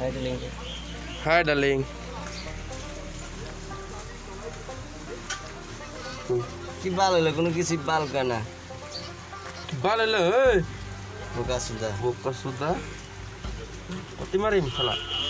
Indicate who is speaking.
Speaker 1: Hi, darling.
Speaker 2: Hi, darling.
Speaker 1: কি বাল হলো কোনো কিছু বাল করে না
Speaker 2: ভালো লো
Speaker 1: বোকা সুদা
Speaker 2: বোকা সুদা অতি মারিম শালা